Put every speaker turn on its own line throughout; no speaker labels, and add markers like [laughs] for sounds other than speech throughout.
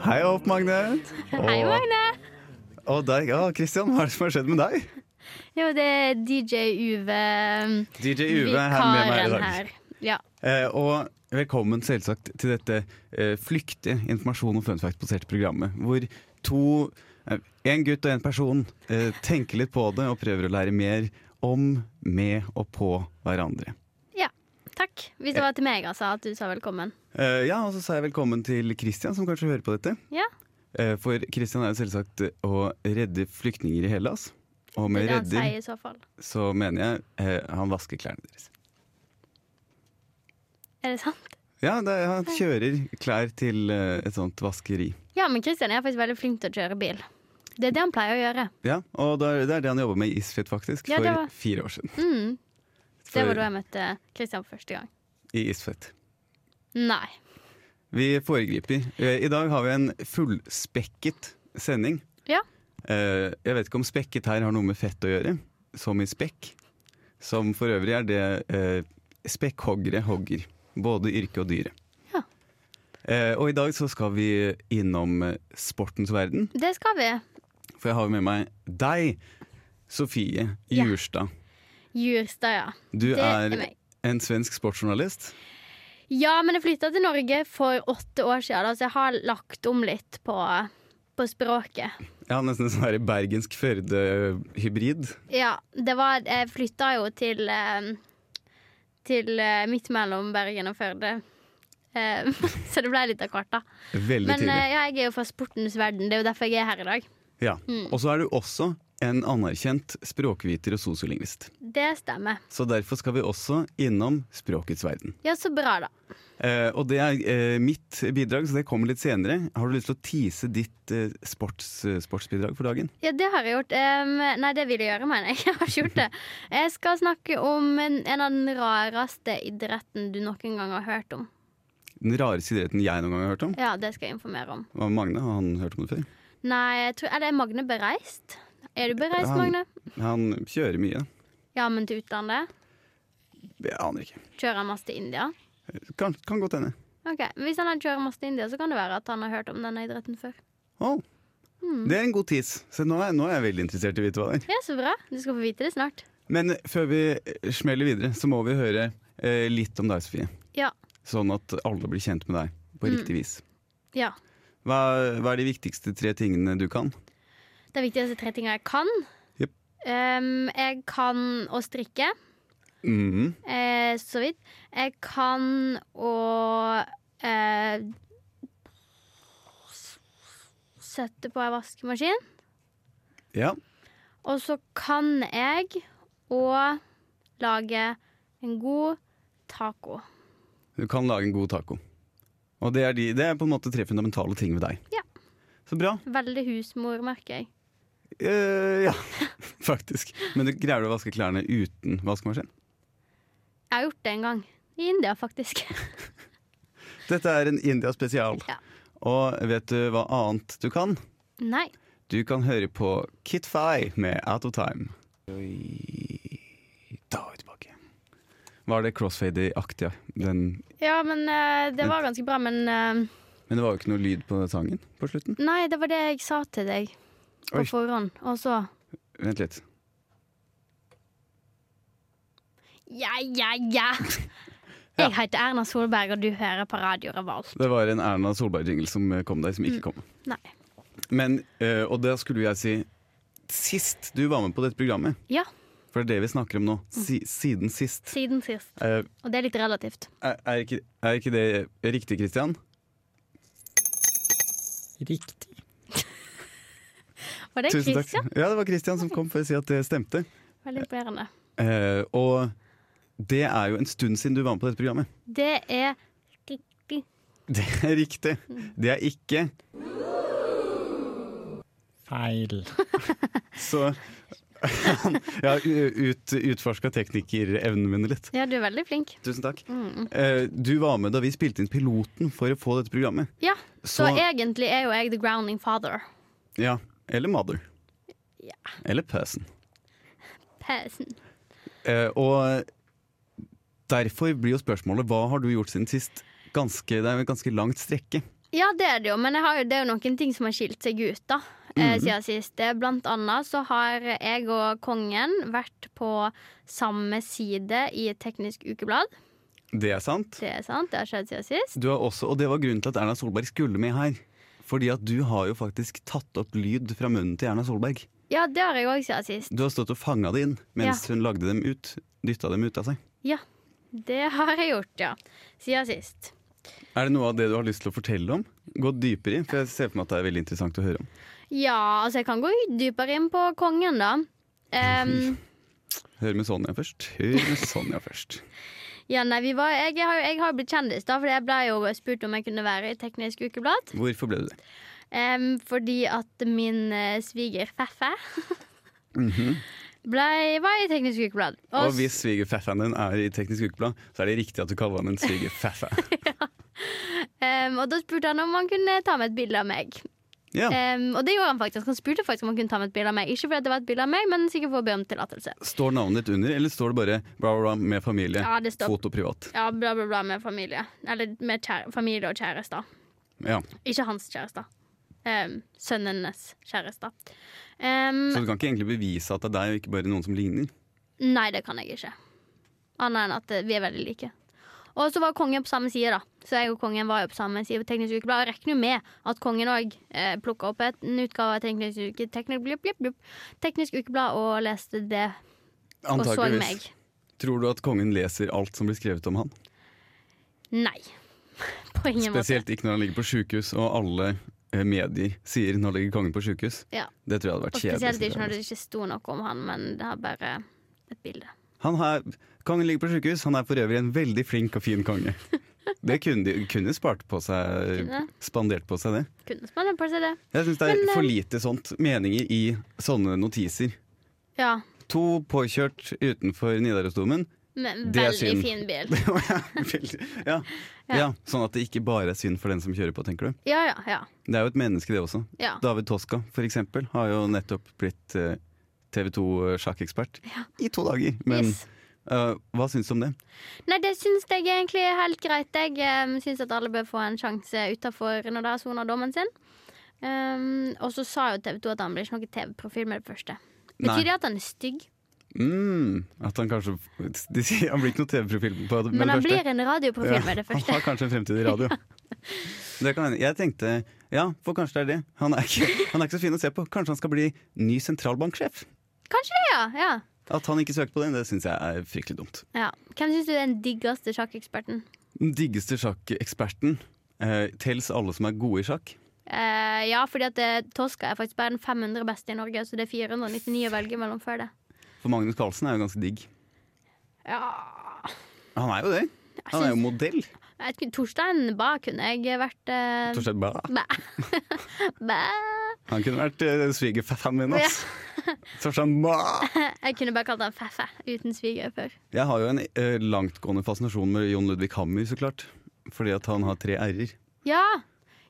Hei, Hopp Magne.
[laughs] Hei,
Og,
Magne!
og deg. Ja, Christian, hva er det som har skjedd med deg?
Jo, det er DJ Uve,
DJ Uve er her med meg i
um, vikaren
dag.
her. Ja.
Eh, og velkommen selvsagt til dette eh, flyktige informasjon- og funfact-baserte programmet, hvor to eh, En gutt og en person eh, tenker litt på det og prøver å lære mer om, med og på hverandre.
ja. Takk. Hvis det var til meg, altså, at du sa velkommen.
Eh, ja, og så sa jeg velkommen til Christian, som kanskje hører på dette.
Ja.
Eh, for Christian er jo selvsagt eh, å redde flyktninger i Hellas. Og
Det
med
er det han sier
redder
i så fall.
så mener jeg eh, han vasker klærne deres.
Er det sant?
Ja, det, er- han kjører klær til eh, et sånt vaskeri.
Ja, men Kristian er faktisk veldig flink til å kjøre bil. Det er det han pleier å gjøre.
Ja, og det er det, er det han jobba med i Isfit, faktisk,
Ja,
for
det var-
fire år siden.
Mm. Det
For-
var da jeg møtte Kristian for første gang.
I Isfit.
Nei.
Vi foregriper. Eh, I dag har vi en fullspekket sending.
Ja.
Eh, Jeg vet ikke om spekket her har noe med fett å gjøre, som i spekk. Som for øvrig er det eh, spekkhoggere hogger. Både yrke og dyret.
Ja.
Eh, Og i dag så skal vi innom eh, sportens verden.
Det skal vi.
For jeg har jo med meg deg, Sofie
Ja.
Jurstad.
Jurstad, ja.
Du
Det er
er
meg.
en svensk sportsjournalist.
Ja, men jeg flytta til Norge for åtte år siden, da, så jeg har lagt om litt på, på språket.
Ja, nesten en sånn her bergensk Førde-hybrid.
Ja, det var Jeg flytta jo til eh, Til eh, midt mellom Bergen og Førde. Eh, [laughs] så det ble litt av hvert, da.
Veldig
Men
tidlig.
eh, ja, jeg er jo fra sportens verden, det er jo derfor jeg er her i dag.
Ja.
mm.
Og så er du også en anerkjent språkviter og sosiolingvist.
Det stemmer.
Så derfor skal vi også innom språkets verden.
Ja, så bra, da.
Eh, og det er eh, mitt bidrag, så det kommer litt senere. Har du lyst til å tease ditt eh, sports, eh, sportsbidrag for dagen?
Ja, det har jeg gjort. Em, nei, det vil jeg gjøre, mener jeg. [laughs] Jeg har ikke gjort det. Jeg skal snakke om en, en av den rareste idretten du noen gang har hørt om.
Den rareste idretten jeg noen gang har hørt om.
Ja, det skal jeg informere om.
Var Magne, har han hørt om det før?
Nei, jeg tror, er det Magne bereist? Er du bereist,
Han-
Magne?
Han kjører mye.
Ja, men til utlandet?
Jeg aner ikke.
Kjører han masse til India?
Kan, kan godt hende.
Ok, men Hvis han har kjører masse til India, så kan det være at han har hørt om denne idretten før.
Å, Det er en god tease. Så nå er, nå er jeg veldig interessert i å vite hva det er.
Ja, Så bra. Du skal få vite det snart.
Men før vi eh, smeller videre, så må vi høre eh, litt om deg, Sofie.
Ja.
Sånn at alle blir kjent med deg på riktig vis.
Mm. ja.
Hva, hva er de viktigste tre tingene du kan?
Det er viktigste tre ting jeg kan.
Jep.
Em, jeg kan å strikke.
Mhm.
Eh, så vidt. Jeg kan å eh, Sette på en vaskemaskin.
Ja.
Og så kan jeg å lage en god taco.
Du kan lage en god taco. Og det er, de, det er på en måte tre fundamentale ting ved deg.
Ja.
Så bra.
Veldig husmor, merker jeg.
Eh, ja, [laughs] faktisk. Men du greier du å vaske klærne uten vaskemaskin?
Jeg har gjort det en gang. I India, faktisk.
Dette er en India-spesial.
[laughs] Ja.
Og vet du hva annet du kan?
Nei.
Du kan høre på Kit Fye med Out of Time. Oi, Da er vi tilbake. Var det crossfade-aktig? Den
Ja, men eh, det var ganske bra. Men eh,
Men det var jo ikke noe lyd på den sangen på slutten.
Nei, det var det jeg sa til deg
Oi.
på forhånd. Og så
Vent litt.
Ja, ja, ja.
Ja.
Jeg heter Erna Solberg, og du hører på Radio Revolt.
Det var en Erna Solberg-jingle som kom deg, som ikke kom.
Nei.
Men, eh, Og da skulle jeg si Sist du var med på dette programmet,
Ja,
for det er det vi snakker om nå, si, siden sist
siden sist.
Eh,
Og det er litt relativt.
er, er, ikke, er ikke det riktig, Christian?
Riktig.
Var det
Tusen takk.
Christian?
Ja, det var Christian som kom for å si at det stemte.
Veldig imponerende.
Eh, og det er jo en stund siden du var med på dette programmet.
Det er riktig.
Det er riktig. Det er ikke
Feil.
så [laughs] Jeg har u- ut, utforska teknikerevnene mine litt.
Ja, du er veldig flink.
Tusen takk. Eh, du var med da vi spilte inn piloten for å få dette programmet.
Ja, så,
Så-
egentlig er jo jeg the grounding father.
Ja. Eller Mother.
Ja.
Eller Person.
Pesen.
Eh, og derfor blir jo spørsmålet hva har du gjort siden sist? Ganske, det er jo et ganske langt strekke.
Ja, det er det jo, men jeg har jo, det er jo noen ting som har skilt seg ut da, eh, siden sist. Det er Blant annet så har jeg og kongen vært på samme side i et teknisk ukeblad.
Det er sant.
Det er sant, det har skjedd siden sist.
Du har også, og det var grunnen til at Erna Solberg skulle med her. Fordi at du har jo faktisk tatt opp lyd fra munnen til Erna Solberg.
Ja, det har jeg òg siden sist.
Du har stått og fanga det inn mens hun lagde dem ut. Dytta dem ut av seg.
Ja, det har jeg gjort, ja. Siden sist.
Er det noe av det du har lyst til å fortelle om? Gå dypere i, for jeg ser for meg at det er veldig interessant å høre om.
Ja, altså jeg kan gå dypere inn på kongen, da. Em,
Hør med Sonja først. Hør med Sonja først.
ja, nei, vi var, jeg, har, jeg har blitt kjendis, da, for jeg ble jo spurt om jeg kunne være i Teknisk Ukeblad.
Hvorfor ble du det?
Em, fordi at min eh, sviger Feffe [laughs] blei, var i Teknisk Ukeblad.
Mhm. Og
s-
hvis svigerfaffaen din er i Teknisk Ukeblad, så er det riktig at du kaller han en
[laughs]
svigerfaffa.
em, og da spurte han om han kunne ta med et bilde av meg.
Ja.
Em, og det gjorde han faktisk. Han spurte faktisk om han kunne ta med et bilde av meg. Ikke fordi det var et bilde av meg, men sikkert for å be om tillatelse.
Står navnet ditt under, eller står det bare bla, bla, bla med familie,
Ja, det står-
foto privat?
Ja, bla, bla, bla med familie. Eller med kjære, familie og kjærester.
Ja.
Ikke hans kjæreste. Em, sønnenes kjæreste. Em,
Så du kan ikke egentlig bevise at det er deg, og ikke bare noen som ligner?
Nei, det kan jeg ikke. Annet enn at eh, vi er veldig like. Og så var kongen på samme side, da. Så jeg og kongen var jo på samme side på Teknisk Ukeblad. Og jeg regner jo med at kongen òg eh, plukka opp et, en utgave av Teknisk, uke, teknisk, blip, blip, blip, teknisk Ukeblad og leste det. Og så meg.
Tror du at kongen leser alt som blir skrevet om han?
Nei. [laughs] På ingen
Spesielt ikke når han ligger på sjukehus og alle eh, medier sier 'nå ligger kongen på sjukehus'.
måte. Ja.
Det tror jeg hadde
Og
vært
spesielt ikke når
kjedelig.
det ikke sto noe om han, men det er bare et bilde.
Han er, kongen ligger på sjukehus, han er for øvrig en veldig flink og fin konge. Det kunne de kunne spart på seg,
Kunne.
spandert på seg det.
Kunne spennende på seg det.
Jeg syns det er
Men, eh,
for lite sånt meninger i sånne notiser.
Ja.
To påkjørt utenfor Nidarosdomen. [laughs]
Men
Det er synd.
veldig
[laughs]
fin bil.
Veldig- ja. ja, sånn at det ikke bare er synd for den som kjører på, tenker du.
Ja, ja, ja.
Det er jo et menneske, det også.
ja.
David Toska for eksempel, har jo nettopp blitt eh, TV 2-sjakkekspert i to dager. Men
yes.
eh, hva syns du om det?
Nei, det syns jeg egentlig er helt greit. Jeg um, syns at alle bør få en sjanse utafor når de soner dommen sin. Ehm, og så sa jo TV 2 at han blir ikke noen TV-profil med det første. Betyr
Nei.
det at han er stygg?
Mm, at han kanskje de sier, Han blir ikke noen TV-profil på det
Men
med det
han
første.
blir en radioprofil med
Han
det
[laughs]
første.
har kanskje en fremtid i
[laughs]
radio. Det kan hende. Jeg tenkte ja, for kanskje det er det. Han er, ikke, han er ikke så fin å se på. Kanskje han skal bli ny sentralbanksjef?
Kanskje det, ja. ja.
At han ikke søkte på den, det syns jeg er fryktelig dumt.
ja. Hvem syns du er den diggeste sjakkeksperten?
Den diggeste sjakkeksperten eh, tels alle som er gode i sjakk.
Eh, ja, fordi at eh, Toska er faktisk bare den 500 beste i Norge, så det er 499 å velge mellom før det.
For Magnus Carlsen er jo ganske digg.
Ja
Han er jo det. Han er jo modell.
Jeg skulle- Torstein Ba kunne jeg vært eh,
Torstein Bæ.
Bæ. [laughs] Bæ.
Han kunne vært uh, svigerfafferen min.
Ja.
ass. Torstein Bæ.
Jeg kunne bare kalt han Feffe uten sviger før.
Jeg har jo en eh, langtgående fascinasjon med Jon Ludvig Hammer, så klart. Fordi at han har tre r-er.
Ja.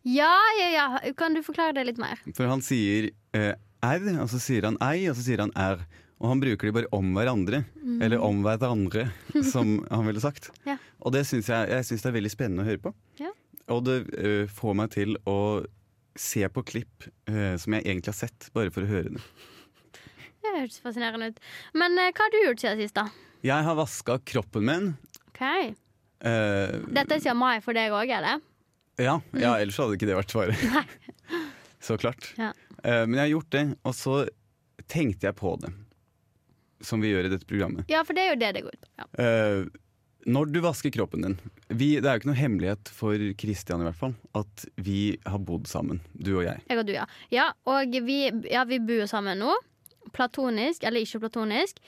ja, ja, ja. Kan du forklare det litt mer?
For han sier eh, r, og så sier han ei, og så sier han r. Og han bruker de bare om hverandre, eller om hverandre,
[laughs]
som han ville sagt.
Mm. Ja.
Og det syns jeg, jeg synes det er veldig spennende å høre på.
Ja.
Og det eh, får meg til å se på klipp eh, som jeg egentlig har sett, bare for å høre det.
Det høres fascinerende ut. Men eh, hva har du gjort siden sist, da?
Jeg har vaska kroppen min.
Ok,
Eh,
Dette er siden mai for deg òg, eller?
ja,
Mm.
ja, ellers hadde ikke det vært svaret. [laughs] så klart.
Ja.
Eh, men jeg har gjort det, og så tenkte jeg på det. Som vi gjør i dette programmet.
Ja, for det er jo det det går ut på. Ja.
Eh, når du vasker kroppen din vi, Det er jo ikke noe hemmelighet for Kristian i hvert fall at vi har bodd sammen, du og jeg.
Jeg og du, ja. Ja, og vi, ja, vi bor jo sammen nå. Platonisk, eller ikke platonisk.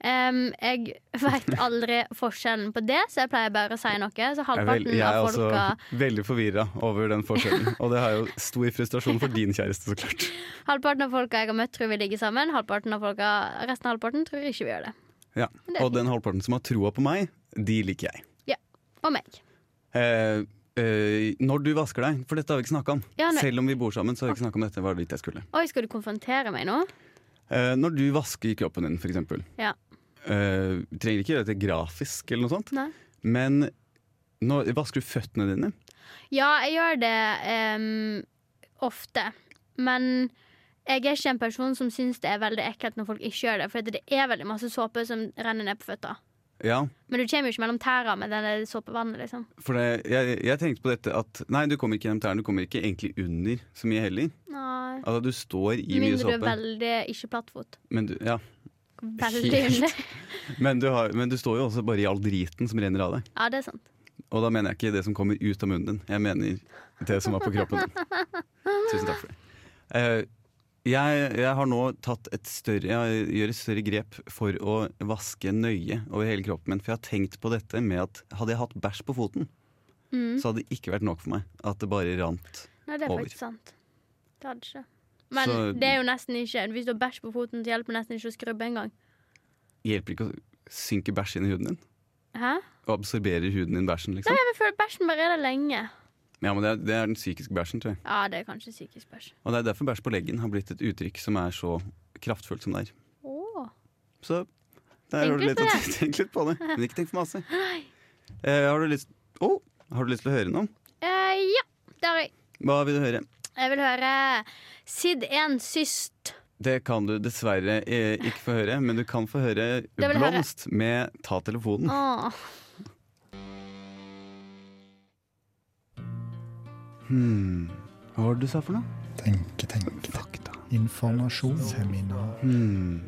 Em, jeg [laughs] veit aldri forskjellen på det, så jeg pleier bare å si noe. Så
Jeg er, vel,
halvparten
jeg er
av
også
folka
veldig forvirra over den forskjellen. Og det har jo stor frustrasjon for din kjæreste, så klart.
Halvparten av folka jeg har møtt, tror vi ligger sammen. Halvparten av folka, resten av halvparten tror ikke vi gjør det.
Ja.
Men [laughs] det er
Og den halvparten som har troa på meg, de liker jeg.
Og meg.
Eh, eh, når du vasker deg, for dette har vi ikke snakka om.
Ja, nei.
Selv om vi bor sammen, så har vi ikke snakka om dette. Var det dit jeg skulle.
Oi, skal du konfrontere meg nå?
Eh, når du vasker kroppen din, for eksempel.
Ja.
Eh, trenger ikke gjøre dette grafisk eller noe sånt,
Nei.
men når, vasker du føttene dine?
Ja, jeg gjør det em, ofte. Men jeg er ikke en person som syns det er veldig ekkelt når folk ikke gjør det. For det er veldig masse såpe som renner ned på føttene.
Ja,
Men du kommer jo ikke mellom tæra med denne såpevannet, liksom.
for det, jeg, jeg tenkte på dette at Nei, du kommer ikke gjennom tærne. Du kommer ikke egentlig under så mye heller.
Nei.
Altså, du står i mye
Mindre du er
såpe.
veldig ikke plattfot.
Men du, ja. [laughs]
Veldig
Helt.
under.
men, du har, men du står jo også bare i all driten som renner av deg.
Ja, det er sant.
Og da mener jeg ikke det som kommer ut av munnen din. Jeg mener det som var på kroppen din. Tusen takk for det. Eh, jeg, jeg har nå tatt et større Jeg gjør et større grep for å vaske nøye over hele kroppen min. For jeg har tenkt på dette med at hadde jeg hatt bæsj på foten,
Mm.
så hadde det ikke vært nok for meg at det bare rant.
Nei, det er
Over.
faktisk sant. Det hadde ikke. Men
Så-
det er jo nesten ikke Hvis du har bæsj på foten, så hjelper det nesten ikke å skrubbe engang.
Hjelper ikke å synke bæsj inn i huden din?
Hæ?
Og absorberer huden din bæsjen, liksom?
Jeg føler bæsjen bare er der lenge.
Ja, men det er, det er den psykiske bæsjen, tror jeg.
Ja, det er kanskje psykisk bæsj.
Og det er derfor bæsj på leggen har blitt et uttrykk som er så kraftfullt som det er.
Åh.
Så der
Tenk
har du
litt
litt å
på
[laughs] tenke litt
[laughs]
på det. Men ikke tenk for masse. Eh, har, du lyst, oh, har du lyst til å høre noe?
Eh, ja, det har jeg.
Hva vil du høre?
Jeg vil høre Sid 1 Syst.
Det kan du dessverre eh, ikke få høre, men du kan få høre
vil jeg høre.
Blomst med Ta telefonen.
Åh.
Hmm. Hva var det du sa for noe?
Tenke, tenke, tenke.
Fakta.
Informasjonsseminar.
Hmm.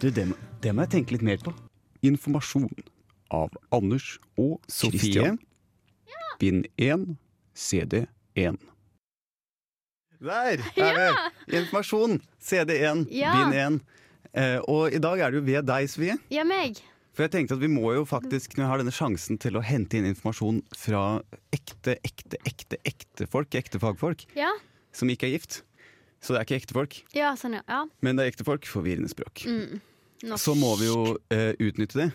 Du, det, må, det må jeg tenke litt mer på. Informasjon av Anders og Sofie.
Christian.
Bind 1, CD 1. Der er vi! Informasjon, CD 1,
Ja.
bind 1. Eh, og i dag er det jo ved deg, Sofie.
Ja, meg.
For jeg tenkte at vi må jo faktisk, når jeg har denne sjansen til å hente inn informasjon fra ekte, ekte, ekte, ekte folk, ekte fagfolk,
Ja.
som ikke er gift. Så det er ikke ekte folk,
ja, sånn, ja. ja.
men det er ekte folk. Forvirrende språk.
Mm. Norsk.
Så må vi jo eh, utnytte det.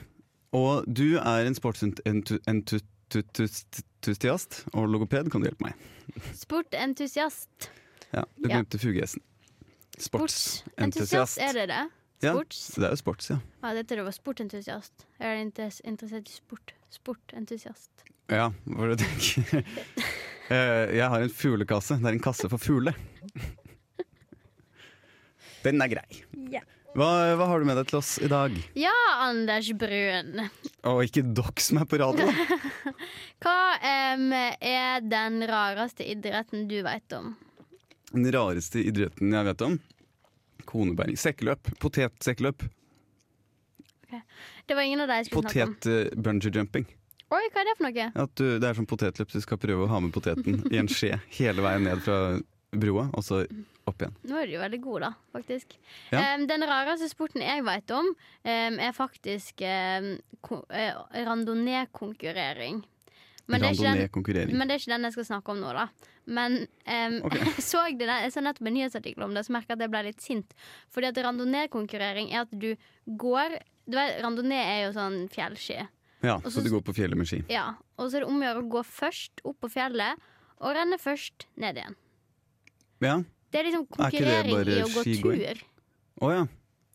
Og du er en sportsentusiast og logoped. Kan du hjelpe meg?
Sportentusiast.
Ja, Du
Ja.
glemte fugesen.
Sportsentusiast,
Sportsentusiast.
er det det?
Ja.
Sports?
Så det er jo sports, ja.
Ja, jeg trodde det var sportentusiast. Jeg er inter- interessert i sport. Sportentusiast.
Ja, hva er det du tenker? [laughs] Eh, jeg har en fuglekasse. Det er en kasse for fugler. Den er grei.
Ja.
Hva, hva har du med deg til oss i dag?
Ja, Anders Brun.
Å, ikke dox meg på radio!
[laughs]
da.
Hva em, er den rareste idretten du vet om?
Den rareste idretten jeg vet om. Konebæring. Sekkeløp. Potetsekkeløp.
Det var ingen av de jeg skulle snakke om.
Potet-bungee-jumping.
Oi, hva er det for noe?
eh, At du, det er sånn potetløp, du skal prøve å ha med poteten i en skje hele veien ned fra broa, og så opp igjen.
Nå er du jo veldig god, da, faktisk.
Ja.
Em, den rareste sporten jeg vet om, em, er faktisk um, randonee-konkurrering. Men det er ikke den-
Randonee-konkurrering.
Men det er ikke den jeg skal snakke om nå, da. Men em,
Ok.
[laughs] jeg, så det, der- jeg så nettopp en nyhetsartikkel om det, så merka jeg at jeg ble litt sint. Fordi at randonee-konkurrering er at du går du vet, Randonee er jo sånn fjellski.
Ja,
og
så
så-
du går på fjellet med ski.
Ja, og så er det om å gjøre å gå først opp på fjellet, og renne først ned igjen.
Ja.
Det er
Er
liksom
ikke det
konkurrering
bare
i å gå
skigåing?
tur.
Å ja.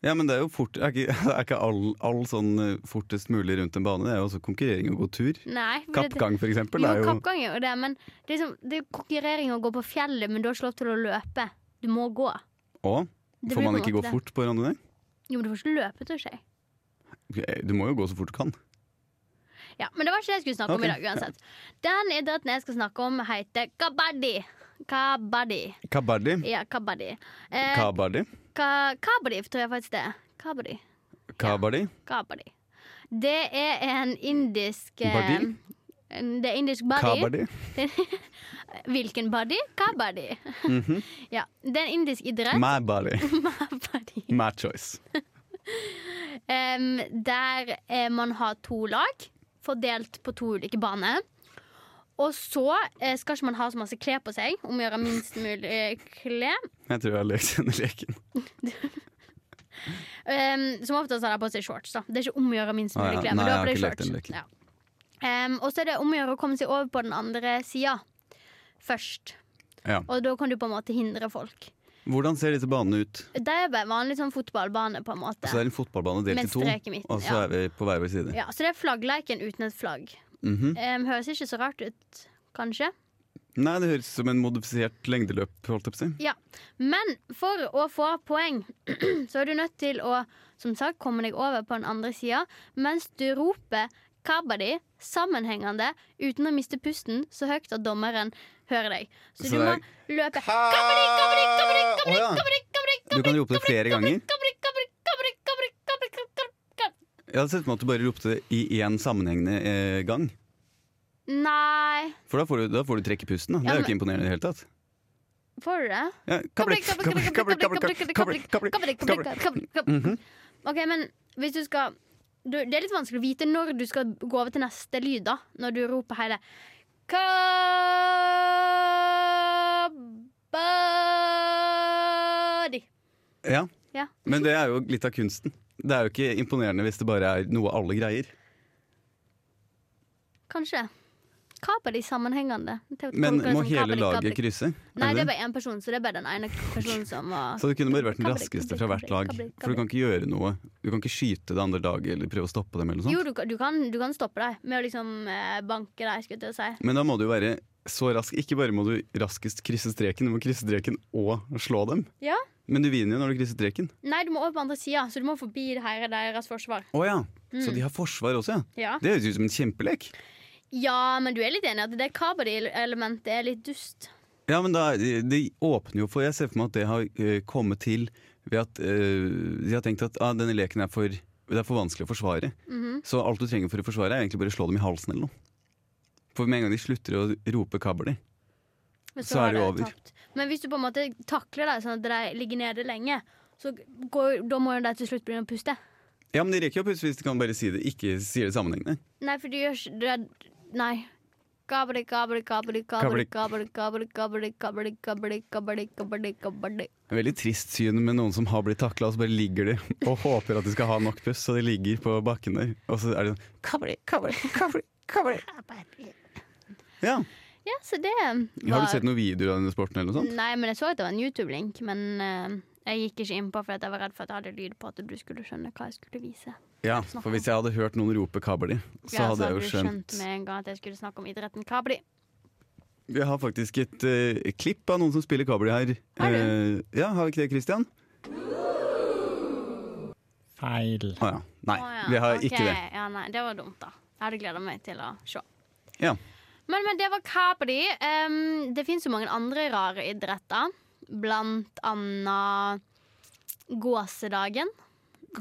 Ja, men det er jo fort Er ikke, [laughs] er ikke all, all sånn eh, fortest mulig rundt en bane? Det er jo også konkurrering og god tur.
Nei, for det-
Kappgang, for eksempel.
Jo,
Er jo,
kappgang er jo det, men det er, liksom, det er konkurrering å gå på fjellet, men du har ikke lov til å løpe. Du må
å,
gå. Det
får
blir på
man
en
ikke gå
måte det.
fort på randonee?
Jo, men du får ikke løpe, tror jeg.
Eh, Du må jo gå så fort du kan.
Ja, Men det var ikke det jeg skulle snakke
Ok,
om i dag uansett. Den idretten jeg skal snakke om, heter kabaddi. Kabaddi.
Kabaddi.
Ja, kabaddi. Eh,
Kabaddi.
ka kabaddi tror jeg faktisk det er. Kabaddi.
Kabaddi.
kabaddi. Det er en indisk eh,
Baddi?
en- Det er indisk baddi.
Kabaddi.
Hvilken baddi? Kabaddi.
Mhm.
[laughs] Ja, det er en indisk [laughs] idrett.
My body.
Baddi.
My choice.
Em, der eh, man har to lag fordelt på to ulike baner. Og så eh, skal ikke man ha så masse klær på seg, om å gjøre minst mulig eh, klær.
Jeg tror jeg har løst [laughs] denne leken.
Em, som oftest har de på seg shorts. da Det er ikke om å gjøre minst
Ah,
mulig
ja.
klær.
Nei,
men du har på
jeg har
deg
ikke lekt
shorts.
den leken.
Ja. Em, og så er det om å gjøre å komme seg over på den andre sida først.
Ja.
Og da kan du på en måte hindre folk.
Hvordan ser disse banene ut?
Det er bare vanlig sånn fotballbane, på en måte.
Så det er en fotballbane delt
Med
i to,
strek i midten,
og så
ja.
er vi på hver vår side.
Ja, så det er flaggleiken uten et flagg.
Mhm.
Em, høres ikke så rart ut, kanskje?
Nei, det høres ut som en modifisert lengdeløp, holdt jeg på å si.
Men for å få poeng, så er du nødt til å som sagt, komme deg over på den andre sida, mens du roper kabadi sammenhengende uten å miste pusten så høyt at dommeren hører deg. Så,
Så
du må
det
løpe
Kabadi, kabadi, kabadi, kabadi, kabadi, Du kan rope det flere ganger. Jeg hadde sett for meg at du bare ropte det i én sammenhengende eh, gang.
Nei
For da får du, da får du trekke pusten. Da. Det
Ja,
er jo
men-
ikke imponerende i det hele tatt.
Får du det?
Ja, kablik, kablik, kablik, kablik, kablik, kablik, kablik, kablik. Mhm.
OK, men hvis du skal du, Det er litt vanskelig å vite når du skal gå over til neste lyd, da. Når du roper hele Kabadi.
Ja.
Ja.
Men det er jo litt av kunsten. Det er jo ikke imponerende hvis det bare er noe alle greier.
Kanskje. Kabadi sammenhengende. Tenkte-
Men
tolker det
må
som
hele
kabadi, kabadi.
laget krysse? Er
Nei, det
det?
er bare én person, så det er bare den ene personen som var
Så det kunne bare vært den
Kabalik,
raskeste
kabalik,
fra hvert
kabalik,
lag.
kabalik,
For du kan ikke gjøre noe. Du kan ikke skyte det andre laget eller prøve å stoppe dem. eller noe
Jo,
sånt.
du, kan- du, kan, du kan stoppe deg med å liksom eh, banke deg, skulle jeg til å si.
Men da må du jo være så rask. Ikke bare må du raskest krysse streken, du må krysse streken og slå dem.
Ja.
Men du vinner jo når du krysser streken.
Nei, du må over på andre sida, så du må forbi det her deres forsvar.
Å ja. Så de har forsvar også, ja.
Ja.
Det høres ut som en kjempelek.
ja, men du er litt enig i at det kabadi-elementet er litt dust.
Ja, men da, det det åpner jo for Jeg ser for meg at det har eh, kommet til ved at eh, de har tenkt at ah, denne leken er for, det er for vanskelig å forsvare. Så alt du trenger for å forsvare, er egentlig bare å slå dem i halsen eller noe. For med en gang de slutter å rope 'kabli',
men
Så er
har
det jo over.
Tapt. Men hvis du på en måte takler deg sånn at de ligger nede lenge, så går, da må jo de til slutt begynne å puste.
Ja, men de rekker jo plutselig hvis de kan bare si det, ikke sier det sammenhengende.
Nei, for du gjør ikke det Nei. Kabadi, kabadi, kabadi, kabadi, kabadi, kabadi, kabadi, kabadi, kabadi, kabadi, kabadi, kabadi.
En veldig trist syn med noen som har blitt takla, og så bare ligger de [laughs] og håper at de skal ha nok pust, så de ligger på bakken der, og så er det sånn
Cover it, cover it, cover it, cover it.
Ja.
Ja, så det
Har du
var-
sett noen videoer av denne sporten eller noe sånt?
Nei, men jeg så at det var en YouTube-link, men eh, jeg gikk ikke innpå fordi at jeg var redd for at jeg hadde lyd på at du skulle skjønne hva jeg skulle vise.
Ja, for hvis jeg hadde hørt noen rope 'kabli', så
Ja,
hadde jeg jo
du
skjønt
med en gang at jeg skulle snakke om idretten kabli.
Vi har faktisk et eh, klipp av noen som spiller kabel her.
Har
Eh, ja, har vi ikke det, Christian?
Feil.
Å ja. Nei,
Å ja,
vi har
ok.
ikke det.
Ja, nei, det var dumt, da. Jeg hadde gleda meg til å se.
Ja.
Men, men det var kabli. Em, det fins jo mange andre rare idretter, blant annet gåsedagen.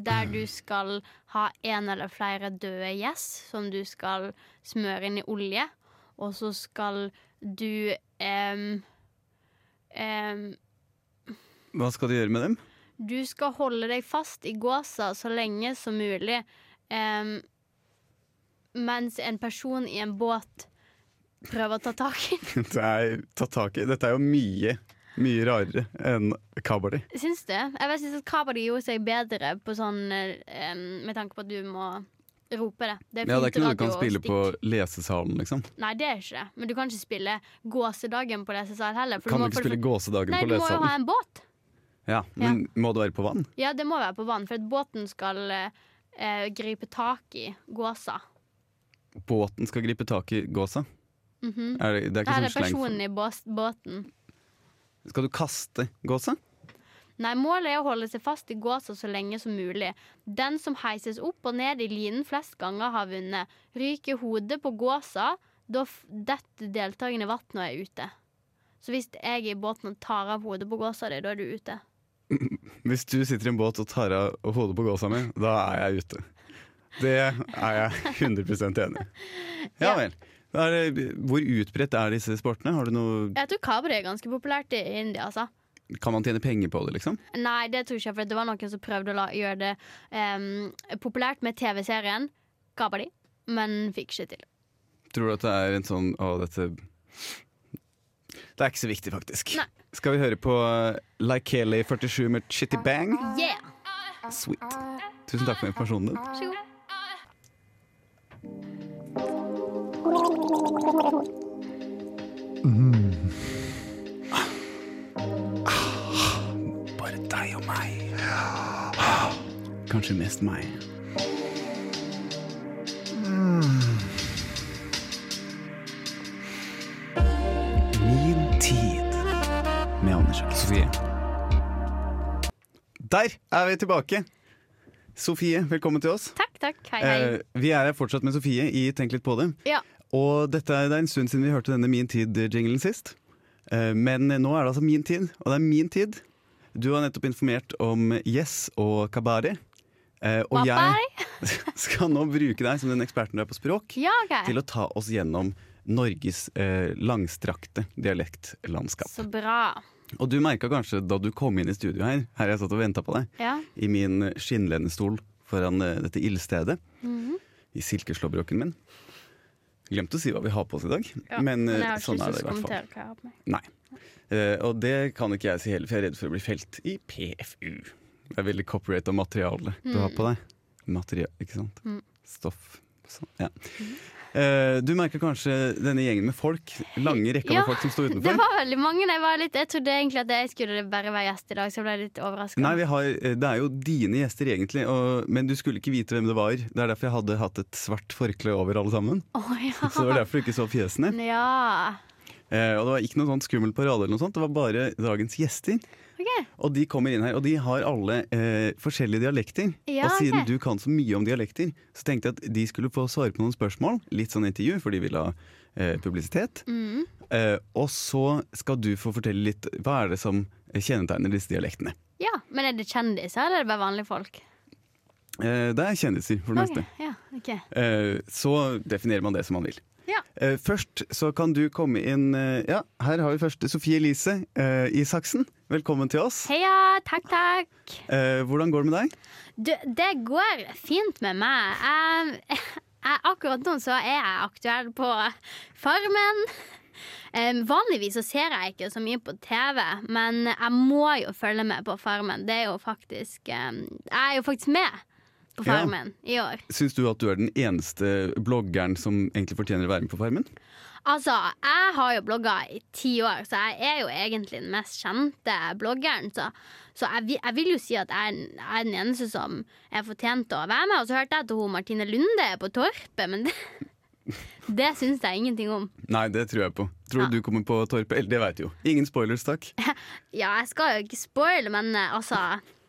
Der du skal ha en eller flere døde gjess som du skal smøre inn i olje. Og så skal du em, em,
Hva skal du gjøre med dem? [laughs]
Du skal holde deg fast i gåsa så lenge som mulig. em, mens en person i en båt prøver å ta tak i den.
Det er, ta tak i. Dette er jo mye, mye rarere enn kabel.
Syns du? Jeg vet, syns at kabadi gjorde seg bedre på sånn eh, med tanke på at du må rope det. Det
Ja, det er
fint
ikke noe du kan
radio og
spille
stikk.
på lesesalen, liksom.
Nei, det er ikke det. Men du kan ikke spille Gåsedagen på lesesal heller. for
Kan du
må
ikke
for det
spille gåsedagen
Nei,
på
du må jo ha
lesesalen?
en båt.
Ja, men må det være på vann?
Ja, det må være på vann, for at båten skal eh, eh, gripe tak i gåsa.
Båten skal gripe tak i gåsa?
Mhm.
Er det, det er ikke
Her er
sånn sleng for
personen i bås båten.
Skal du kaste gåsa?
Nei, målet er å holde seg fast i gåsa så lenge som mulig. Den som heises opp og ned i linen flest ganger, har vunnet. Ryker hodet på gåsa, da f- detter deltakerne i vannet og er ute. Så hvis jeg er i båten og tar av hodet på gåsa di, da er du ute.
Hvis du sitter i en båt og tar av hodet på gåsa mi, da er jeg ute. Det er jeg 100 enig
[laughs]
i. Ja
Ja.
vel. Da er det, hvor utbredt er disse sportene? Har du noe,
Jeg tror kabri er ganske populært i India, altså.
kan man tjene penger på det, liksom?
Nei, det tror jeg ikke, for det var noen som prøvde å la, gjøre det em, populært med TV-serien Kabadi, men fikk ikke til.
Tror du at det er en sånn Å, dette Det er ikke så viktig, faktisk.
Nei.
Skal vi høre på eh, Likely 47 med Chitty Bang?
Yeah!
Sweet. Tusen takk for informasjonen din.
Vær så god.
Bare deg og meg. Kanskje mest meg.
Min
Der er vi tilbake! Sofie, velkommen til oss.
Takk, takk. Hei, hei.
Eh, vi er her fortsatt med Sofie i Tenk litt på det.
Ja.
Og dette er, det er en stund siden vi hørte denne Min tid-jinglen sist. Eh, men nå er det altså min tid, og det er min tid. Du har nettopp informert om Yes og Kabari. Eh, og jeg
Bye-bye.
[laughs] skal nå bruke deg som den eksperten du er på språk,
Ja, OK.
til å ta oss gjennom Norges eh, langstrakte dialektlandskap.
Så bra.
Og du merka kanskje da du kom inn i studio her, her jeg satt og venta på deg,
Ja.
i min skinnlenestol foran eh, dette ildstedet.
Mhm.
I silkeslåbroken min. Glemte å si hva vi har på oss i dag,
ja.
men, eh,
jeg har ikke
sånn
lyst
er det
til
i hvert
å
fall.
kommentere hva jeg har på meg.
Nei. Eh, og det kan ikke jeg si heller, for jeg er redd for å bli felt i PFU. Det er veldig copyright av materialet du har på deg. Material, ikke sant?
Mm.
Stoff. Sånn, ja. Eh, du merker kanskje denne gjengen med folk, lange rekka
Ja,
med folk som står utenfor.
Det var veldig mange. Jeg, var litt, jeg trodde egentlig at jeg skulle bare være gjest i dag, så jeg ble litt overraska.
Nei, vi har, eh, det er jo dine gjester egentlig, og, men du skulle ikke vite hvem det var. Det er derfor jeg hadde hatt et svart forkle over alle
[laughs]
sammen.
ja.
[laughs] Så det var derfor du ikke så fjesene.
Ja.
Eh, og det var ikke noe sånt skummel parade eller noe sånt, det var bare dagens gjester.
OK.
Og de kommer inn her, og de har alle eh, forskjellige dialekter.
Ja,
og siden
ok.
du kan så mye om dialekter, så tenkte jeg at de skulle få svare på noen spørsmål. Litt sånn intervju, for de vil ha eh, publisitet.
Mm.
Eh, og så skal du få fortelle litt hva er det som kjennetegner disse dialektene.
ja. Men er det kjendiser, eller er det bare vanlige folk?
Eh, det er kjendiser, for det
Ok,
meste.
Ja, ok.
Eh, så definerer man det som man vil.
Ja.
Eh, Først så kan du komme inn eh, Ja, her har vi først Sofie Elise eh, Isaksen. Velkommen til oss.
Heia, takk, takk.
Eh, Hvordan går det med deg?
Du, det går fint med meg. Jeg, jeg, akkurat nå så er jeg aktuell på Farmen. Em, vanligvis så ser jeg ikke så mye på TV, men jeg må jo følge med på Farmen. Det er jo faktisk em, Jeg er jo faktisk med på
Ja.
Farmen i år.
Syns du at du er den eneste bloggeren som egentlig fortjener å være med på Farmen?
Altså, jeg har jo blogga i ti år, så jeg er jo egentlig den mest kjente bloggeren. Så, så jeg, vil- jeg vil jo si at jeg, er den- jeg er den eneste som er fortjent til å være med. Og så hørte jeg at hun Martine Lunde er på Torpet, men det, [laughs] det syns jeg ingenting om.
Nei, det tror jeg på. Tror du du kommer på Torpet? Eller det veit jo. Ingen spoilers,
[laughs]
takk.
Ja, jeg skal jo ikke spoile, men eh, altså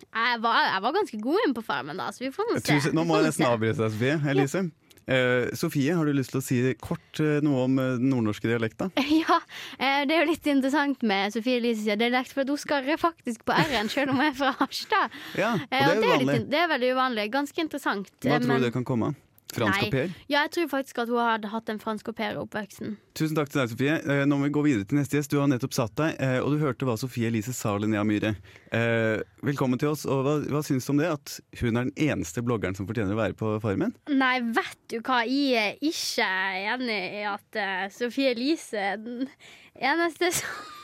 jeg var, jeg var ganske god inn på Farmen, da, så vi får nå se.
Tusen, nå
Vi
må
får
jeg
nå se.
nesten avbryte deg, Sofie. Elise. Eh, Sofie, har du lyst til å si kort eh, noe om eh, den nordnorske dialekta?
[laughs] Ja, eh, det er jo litt interessant med Sofie Elise sin dialekt, for hun skarrer faktisk på r-en, selv om hun er fra Harstad.
Ja, og det
Eh,
er
og det, er
uvanlig.
litt, det er veldig uvanlig. Ganske interessant.
Hva
eh,
tror du det kan komme av? Fransk
Nei.
au pair?
Ja, jeg tror faktisk at hun hadde hatt en fransk au pair i oppveksten.
Tusen takk til deg, Sofie. Eh, Nå må vi gå videre til neste gjest. Du har nettopp satt deg, eh, og du hørte hva Sofie Elise sa, Linnea Myhre. Eh, Velkommen til oss, og hva, hva syns du om det? At hun er den eneste bloggeren som fortjener å være på Farmen?
Nei, vet du hva, jeg er ikke enig i at eh, Sophie Elise er den eneste [laughs] som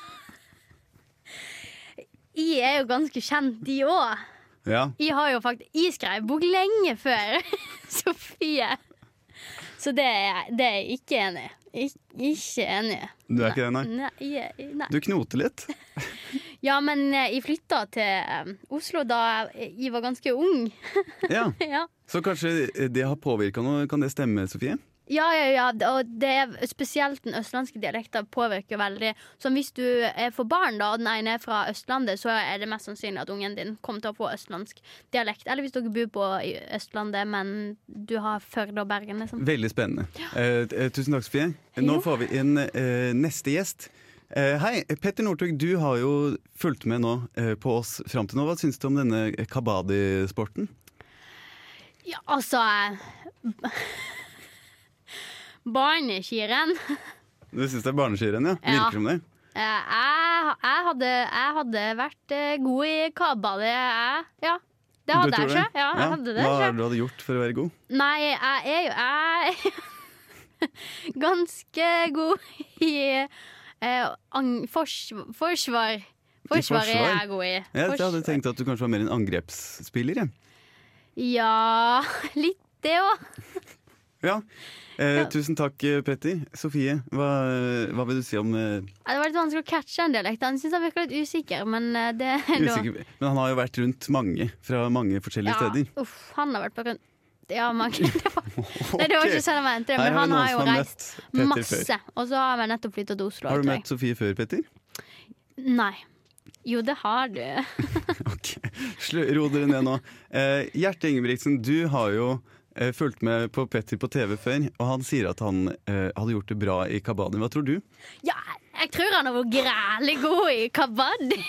Jeg er jo ganske kjent, de òg.
Ja.
Jeg har jo faktisk Jeg skrev bok lenge før [laughs] Sofie. Så det er, det er jeg ikke enig i. Ik- Ikke enig.
Du er ikke det, nei?
Nei, jeg er- nei.
Du knoter litt.
Ja, men eh, jeg flytta til eh, Oslo da jeg var ganske ung. [laughs]
Ja.
ja.
Så kanskje det har påvirka noe? Kan det stemme, Sofie?
Ja, ja, ja, d- og det er spesielt den østlandske dialekten påvirker veldig. Så hvis du eh, får barn, da, og den ene er fra Østlandet, så er det mest sannsynlig at ungen din kommer til å få østlandsk dialekt. Eller hvis dere bor på i Østlandet, men du har Førde og Bergen, liksom.
Veldig spennende. Eh, eh, Tusen takk, Sofie.
Jo.
Nå får vi inn eh, neste gjest. Eh, Hei, Petter Northug, du har jo fulgt med nå eh, på oss fram til nå. Hva syns du om denne kabadi-sporten?
Ja, altså eh, [laughs] Barneskirenn.
Du syns det er barneskirenn, ja?
Ja.
Virker som det?
Eh, Jeg, jeg, hadde, jeg hadde vært eh, god i kabale, jeg. Ja. Det hadde
Du
jeg
tror
ikke. Ja, jeg hadde det
Hva
ikke.
er det du hadde gjort for å være god?
Nei, jeg er jo jeg er [laughs] ganske god i eh, ang- fors, forsvar. Forsvaret er
forsvar?
jeg god i.
Jeg, jeg hadde
Forsvar.
tenkt at du kanskje var mer en angrepsspiller. jeg.
Ja, [laughs] litt det òg.
Ja. Eh,
Ja.
Tusen takk, eh, Petter. Sofie, hva, hva vil du si om eh,
Det var litt vanskelig å catche en dialekt. Han syns jeg virker litt usikker, men eh, det er lov.
usikker Men han har jo vært rundt mange fra mange forskjellige steder.
Ja, uff, han har vært på rundt Ja,
[laughs]
mange. [laughs] Det var, nei, det var ikke
Ok.
sånn jeg mente det,
Her er
men
det
han
noen
har jo
som har
reist
møtt Petter før.
masse. Og så har vi nettopp flytta til Oslo.
Har du
tror jeg.
møtt Sofie før, Petter?
Nei. Jo, det har du.
[laughs] Ok. Slu- Ro dere ned nå. Eh, Gjert Ingebrigtsen, du har jo eh, fulgt med på Petter på TV før, og han sier at han eh, hadde gjort det bra i Kabadi. Hva tror du?
[laughs] Ja, jeg tror han har vært grælig god i kabaddi.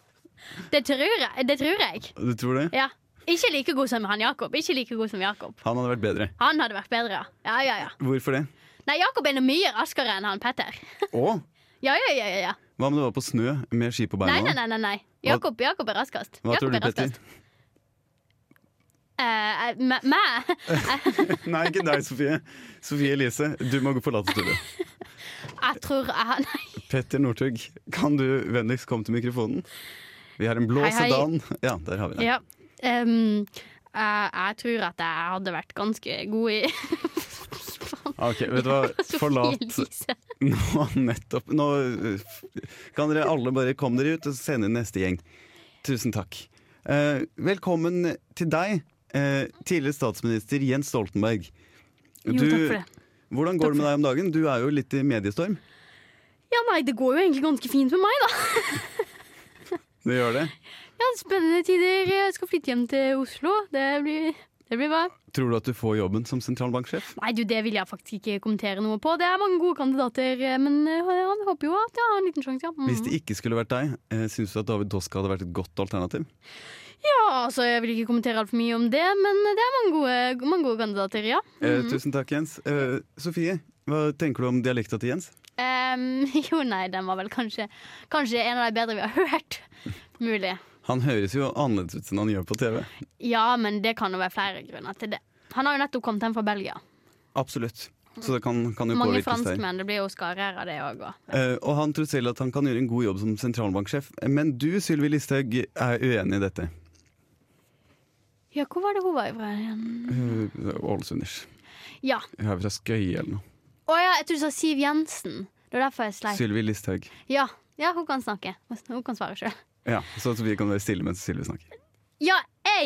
[laughs] Det tror jeg. Det tror jeg.
Du tror det?
Ja. Ikke like god som han Jakob. Ikke like god som Jakob.
Han hadde vært bedre.
Han hadde vært bedre, ja. Ja, ja, ja.
Hvorfor det?
Nei, Jakob er nå mye raskere enn han Petter.
Å,
Ja, ja, ja. ja, ja.
hva om du var på snø med ski på beina?
Nei, nei, nei. nei, nei. Jakob, Jakob er raskest.
Hva
Jakob
tror du,
er raskest.
Petter? [laughs]
Eh, eh, meg?
Nei, ikke deg, Sofie. Sofie Elise, du må gå forlate studioet.
Jeg tror jeg Nei.
Petter Northug, kan du vennligst komme til mikrofonen? Vi har en blå
Hei, hei.
sedan. Ja, der har vi den.
Ja. Ehm, jeg, jeg tror at jeg hadde vært ganske god i [laughs]
Ok, vet du hva?
Sofie
Forlat
Elise.
[laughs] nå nettopp. Nå uh, f- kan dere alle bare komme dere ut og sende inn neste gjeng. Tusen takk. Eh, velkommen til deg, eh, tidligere statsminister Jens Stoltenberg.
Jo, takk for det.
Hvordan går
Takk
det med
for
deg om dagen? Du er jo litt i mediestorm.
Ja, nei, det går jo egentlig ganske fint med meg, da.
Du gjør det.
Ja, spennende tider. Jeg skal flytte hjem til Oslo. Det blir, det blir bra.
Tror du at du får jobben som sentralbanksjef?
Nei, du, det vil jeg faktisk ikke kommentere noe på. Det er mange gode kandidater, eh, men eh, han håper jo at jeg har en liten sjanse, ja. Mm.
Hvis det ikke skulle vært deg, uh, syns du at David Toska hadde vært et godt alternativ?
Ja, altså, jeg vil ikke kommentere altfor mye om det, men det er mange gode, mange gode kandidater, ja.
Eh, tusen takk, Jens. Eh, Sofie, hva tenker du om dialekta til Jens?
Ehm, [laughs] jo, nei, den var vel kanskje, kanskje en av de bedre vi har hørt. Mulig.
Han høres jo annerledes ut enn han gjør på TV.
Ja, men det kan jo være flere grunner til det. Han har jo nettopp kommet hjem fra Belgia.
Absolutt. Så det kan, kan jo
Mange
påvirkes der.
franskmenn. Det blir jo skarrer av det òg.
Eh, og han tror selv at han kan gjøre en god jobb som sentralbanksjef. Men du, Sylvi Listhaug, er uenig i dette.
Ja, hvor var det hun var fra igjen?
Eh, Ålesunders.
Ja.
Hun er fra Skøye eller noe.
Å ja, jeg tror du sa Siv Jensen. Det var derfor jeg sleit.
Sylvi Listhaug.
Ja. ja, hun kan snakke. Hun kan svare sjøl.
Ja, så Sofie kan være stille mens Sylvi snakker.
Ja,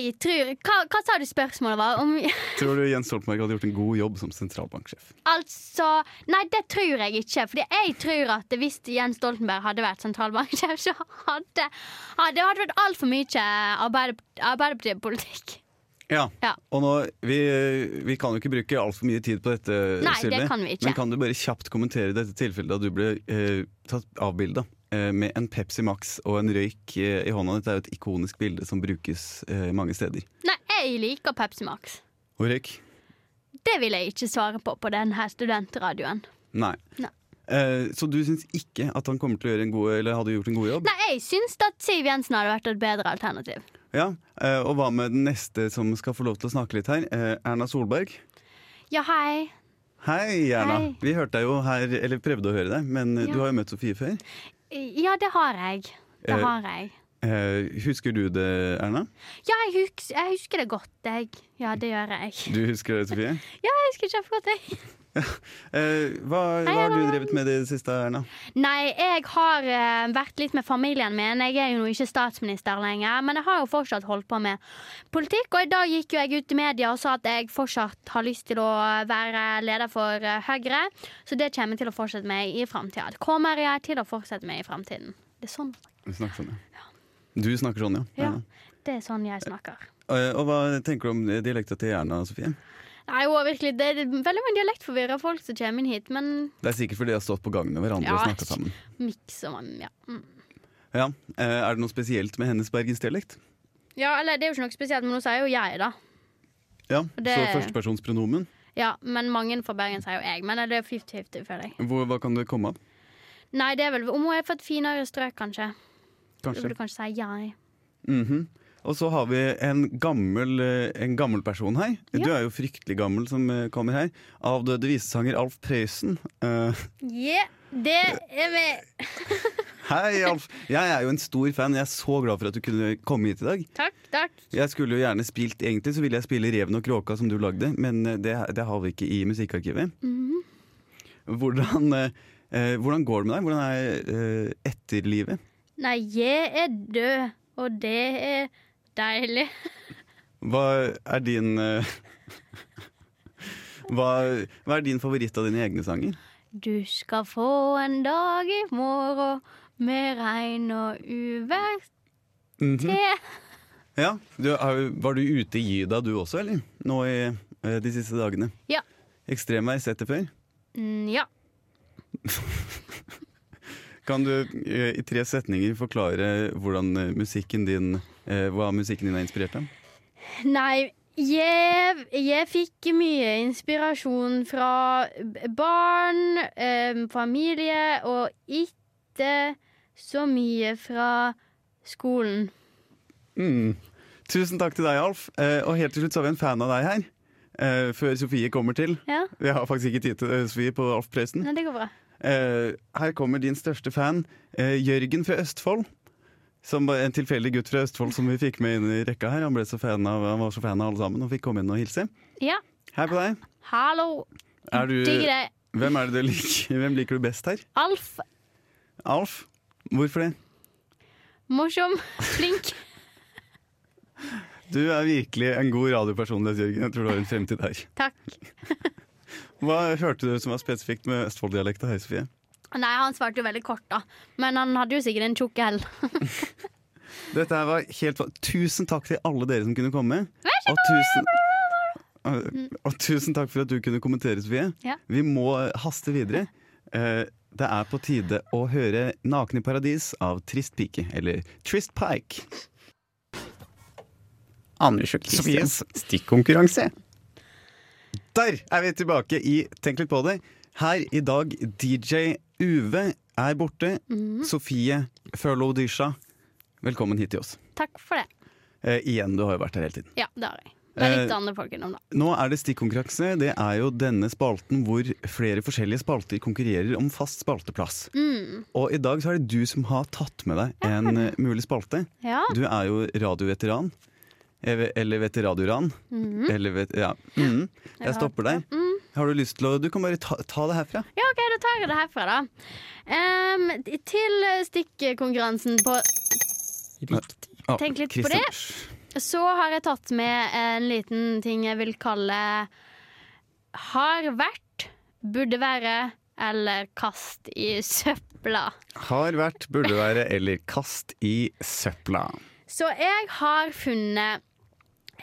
jeg tror Hva, hva sa du spørsmålet var? Om [laughs]
Tror du Jens Stoltenberg hadde gjort en god jobb som sentralbanksjef?
Altså Nei, det tror jeg ikke. Fordi jeg tror at hvis Jens Stoltenberg hadde vært sentralbanksjef, så hadde ja, det hadde vært altfor mye Arbeiderp- Arbeiderpartipolitikk.
Ja.
Ja.
Og nå, vi, vi kan jo ikke bruke altfor mye tid på dette,
Nei, det
Sylvi.
kan vi ikke.
Men kan du bare kjapt kommentere dette tilfellet da du ble eh, tatt avbilda eh, med en Pepsi Max og en røyk eh, i hånda? Dette er jo et ikonisk bilde som brukes eh, mange steder.
Nei, jeg liker Pepsi Max.
Og røyk?
Det vil jeg ikke svare på på denne studentradioen.
Nei.
Nei.
Eh, så du syns ikke at han kommer til å gjøre en god, eller hadde gjort en god jobb?
Nei, jeg syns at Siv Jensen hadde vært et bedre alternativ.
Ja, eh, Og hva med den neste som skal få lov til å snakke litt her? Eh, Erna Solberg.
Ja, hei.
Hei, Erna.
Hei.
Vi hørte deg jo her, eller prøvde å høre deg, men eh,
Ja.
du har jo møtt Sofie før.
Ja, det har jeg. Det
Eh.
har jeg.
Eh, husker du det, Erna?
Ja, jeg husker, jeg husker det godt, jeg. Ja, det gjør jeg. [laughs]
Du husker det, Sofie?
Jeg husker kjempegodt, jeg.
Eh, hva, hva har du drevet med i det siste, Erna?
Nei, jeg har eh, vært litt med familien min. Jeg er jo nå ikke statsminister lenger, men jeg har jo fortsatt holdt på med politikk. Og i dag gikk jo jeg ut i media og sa at jeg fortsatt har lyst til å være leder for eh, Høyre. Så det kommer jeg til å fortsette med i framtida. Det kommer jeg til å fortsette med i framtiden. Det er sånn,
Du snakker sånn, ja. Du snakker sånn, ja.
ja.
Erna.
Det er sånn jeg snakker.
Eh, og hva tenker du om dialekta til Erna, Sofie?
Nei, jo, virkelig, det er veldig mange dialektforvirra folk som kommer inn hit, men
Det er sikkert fordi de har stått på gangen med hverandre
Ja.
og snakka sammen.
miks og man, ja. Mm.
Ja, eh, Er det noe spesielt med hennes bergensdialekt?
Ja, eller det er jo ikke noe spesielt, men nå sier jo jeg, da.
Ja,
Det-
Så førstepersonspronomen.
Ja, Men mange fra Bergen sier jo jeg. Men det er 50-50, føler jeg.
Hvor, hva kan det komme av?
Nei, det er vel om hun er fra et finere strøk, kanskje. Du
Kanskje.
burde kanskje si jeg.
Mhm. Og så har vi en gammel, eh, en gammel person her.
Ja.
Du er jo fryktelig gammel som eh, kommer her. Avdøde visesanger Alf Prøysen. Eh,
Yeah, det er vi.
hei, Alf! Jeg er jo en stor fan. Jeg er så glad for at du kunne komme hit i dag.
Takk, takk.
Jeg skulle jo gjerne spilt, Egentlig så ville jeg spille 'Reven og kråka' som du lagde, men eh, det, det har vi ikke i musikkarkivet. Hvordan, eh, eh, hvordan går det med deg? Hvordan er eh, etterlivet?
Nei, jeg er død, og det er deilig.
Hva er din eh, [laughs] hva, hva er din favoritt av dine egne sanger?
Du skal få en dag i morgen med regn og uvær
Mhm.
til.
Ja, du, er- Var du ute i Gyda du også, eller? Nå i eh, de siste dagene?
Ja.
Ekstremvær sett det før?
Mm, ja.
Kan du eh, i tre setninger forklare hvordan eh, musikken din, eh, hva musikken din er inspirert av?
Nei, jeg, jeg fikk mye inspirasjon fra b- barn, em, familie, og ikke så mye fra skolen.
Mm. Tusen takk til deg, Alf. Eh, og helt til slutt så har vi en fan av deg her. Eh, før Sofie kommer til.
Ja,
Vi har faktisk ikke tid til eh, Sofie på Alf Prøysen.
Nei, det går bra.
Eh, her kommer din største fan, eh, Jørgen fra Østfold. Som var en tilfeldig gutt fra Østfold som vi fikk med inn i rekka her. Han, ble så fan av, han var så fan av alle sammen og fikk komme inn og hilse.
Ja,
Hei på deg.
hallo.
Er du,
Digger deg.
hvem, er det du liker, [laughs] hvem liker du best her?
Alf,
Alf? Hvorfor det?
morsom, [laughs] flink.
Du er virkelig en god radiopersonlighet, Jørgen. Jeg tror du har en fremtid her.
Takk.
Hva hørte du som var spesifikt med Østfold-dialekta her, Sofie?
Nei, han svarte jo veldig kort, da. Men han hadde jo sikkert en tjukk hell. [laughs]
Dette her var helt fa- Tusen takk til alle dere som kunne komme. Og tusen, og, og tusen takk for at du kunne kommentere, Sofie.
Ja.
Vi må eh, haste videre. Eh, det er på tide å høre 'Naken i paradis' av Trist pike, eller Trist Pike. Anders og Sofies stikkonkurranse. Der er vi tilbake i Tenk litt på det. Her i dag, DJ Uve er borte. Sofie Furlow Disha, velkommen hit til oss.
Takk for det.
Eh, igjen, du har jo vært her hele tiden.
Ja, det har jeg. Det er litt
Eh,
andre folk innom, da.
Nå er det stikkonkurranse. Det er jo denne spalten hvor flere forskjellige spalter konkurrerer om fast spalteplass.
Mm.
Og i dag så er det du som har tatt med deg en eh, mulig spalte.
Ja.
Du er jo radioveteran. Ev- Eller veteradioran.
Mm.
Eller vet, ja. mhm. Jeg stopper deg. Har du lyst til å Du kan bare ta, ta det herfra.
Ja, ok, da tar Mm. jeg det herfra, da. Ehm, til stikkonkurransen på
Ah,
Tenk litt på
Christian.
det. Så har jeg tatt med en liten ting jeg vil kalle Har vært, burde være eller kast i søpla.
Har vært, burde være eller kast i søpla.
Så jeg har funnet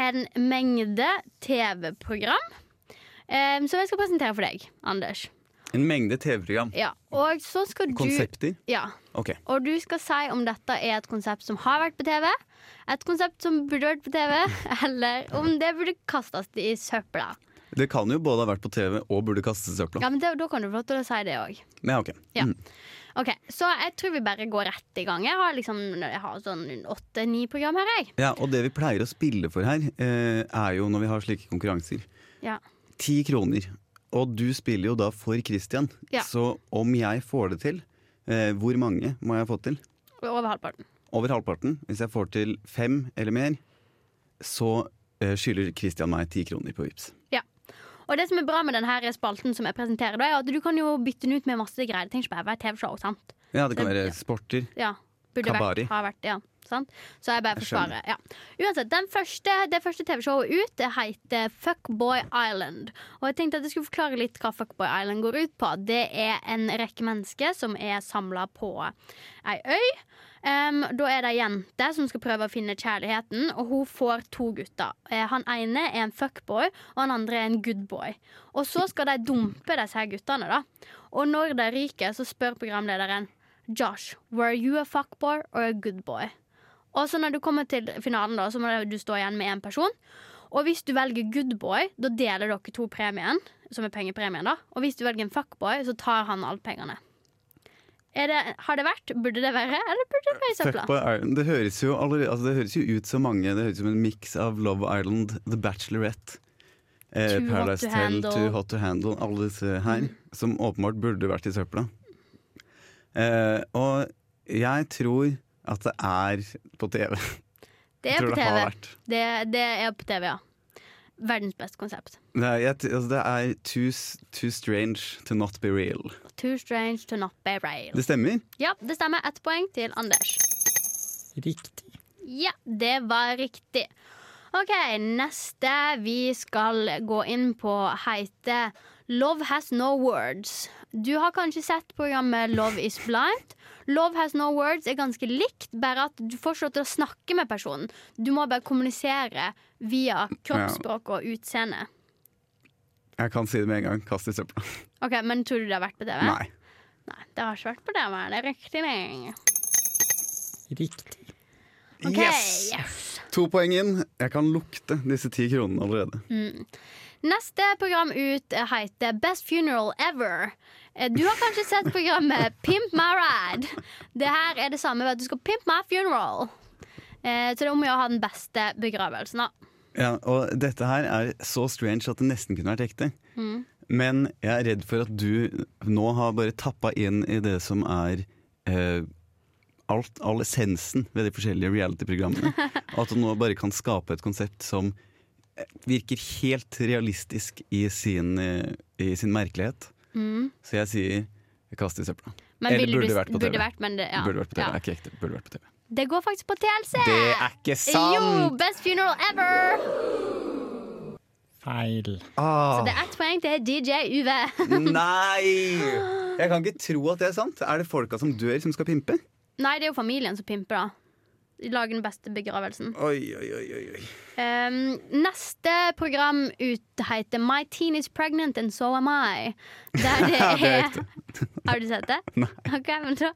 en mengde TV-program ehm, som jeg skal presentere for deg, Anders.
En mengde TV-program.
Ja, og så skal Eh, du
Konsepter.
Ja,
Ok.
Og du skal si om dette er et konsept som har vært på TV, et konsept som burde vært på TV, eller om det burde kastes i søpla.
Det kan jo både ha vært på TV og burde kastes i søpla.
Ja, men det, Da kan du få lov til å si det òg.
Ja, ok.
Ja.
Mm.
Ok, så jeg tror vi bare går rett i gang. Jeg har liksom, jeg har sånn åtte-ni program her, jeg.
ja, og det vi pleier å spille for her, eh, er jo når vi har slike konkurranser.
Ja.
Ti kroner. Og du spiller jo da for Christian.
Ja.
Så om jeg får det til, eh, hvor mange må jeg få til?
Over halvparten.
Over halvparten. Hvis jeg får til fem eller mer, så eh, skylder Christian meg ti kroner på Vipps.
Ja. Og det som er bra med denne spalten som jeg presenterer, da, er at du kan jo bytte den ut med masse greier. Det trenger ikke bare være TV-show, sant?
Ja, det kan være
Det-
sporter.
Ja. Burde
Kabari.
vært, har vært, ja. Sant? Så jeg bare
Jeg
forsvarer. Ja. Uansett, den første, Det første TV-showet ut det heter Fuckboy Island. Og jeg tenkte at jeg skulle forklare litt hva Fuckboy Island går ut på. Det er en rekke mennesker som er samla på ei øy. Em, da er det ei jente som skal prøve å finne kjærligheten, og hun får to gutter. Eh, han ene er en fuckboy, og han andre er en goodboy. Og så skal de dumpe disse her guttene, da. Og når de ryker, så spør programlederen Josh, were you a fuckboy or a goodboy? Og så når du kommer til finalen, da, så må du stå igjen med én person. Og hvis du velger good boy, da deler dere to premien, som er pengepremien. da. Og hvis du velger en fuckboy, så tar han alle pengene. Er det, har det vært? Burde det være? Eller burde det være i søpla?
Fuckboy Island. Det høres, jo allerede, altså det høres jo ut som mange. Det høres ut som en miks av Love Island, The Bachelorette, eh,
Too Hot
Paradise
to
Tell,
Handle. Mm.
Too Hot to Handle, alle disse her. Som åpenbart burde vært i søpla. Eh, og jeg tror at det er på TV. [laughs]
Det
Jeg
er
tror
på
det har
TV.
vært.
Det, det er på TV, ja. Verdens beste konsept.
Det er, jeg, altså det er too, s- too strange to not be real.
Too strange to not be real.
Det stemmer.
Ja, det stemmer. Ett poeng til Anders.
Riktig.
Ja, det var riktig. OK, neste vi skal gå inn på, heter Love Has No Words. Du har kanskje sett programmet Love is blind. Love has no words er ganske likt, bare at du får ikke lov til å snakke med personen. Du må bare kommunisere via kroppsspråk og utseende.
Jeg kan si det med en gang. Kast i søpla.
Ok, Men tror du det har vært på TV?
Nei.
Nei, det har ikke vært på TV. Det er riktig. det.
Riktig.
Ok,
Yes!
yes.
To poeng inn. Jeg kan lukte disse ti kronene allerede.
Neste program ut eh, heter Best Funeral Ever. Eh, Du har kanskje sett programmet Pimp my ride. Det her er det samme ved at du skal pimp my funeral. Eh, Så det er om å gjøre å ha den beste begravelsen. da.
Ja, og dette her er så strange at det nesten kunne vært ekte.
Mm.
Men jeg er redd for at du nå har bare tappa inn i det som er eh, alt, all essensen ved de forskjellige reality-programmene.
[laughs]
Og at du nå bare kan skape et konsept som eh, virker helt realistisk i sin, eh, i sin merkelighet. Så jeg sier kast i søpla.
Mm. Men
Eller Eh,
ville
burde
du-
vært på
burde
TV.
Vært, men det, ja.
Burde vært på TV.
Ja.
Er ikke ekte. Burde vært på TV.
Det går faktisk på TLC!
Det er ikke
Jo,
sant!
Best Funeral Ever!
Feil.
Ah.
Så det er ett poeng til DJ Uve. [laughs] [gasps]
Nei! Jeg kan ikke tro at det er sant. Er det folka som dør, som skal pimpe?
Nei, det er jo familien som pimper, da. De Lager den beste begravelsen.
Oi, oi, oi, oi, oi.
Um, neste program ut heter My teen is pregnant and so am I.
[laughs]
Der det
Ja, det er
er [laughs] Har du sett det? Nei. men da,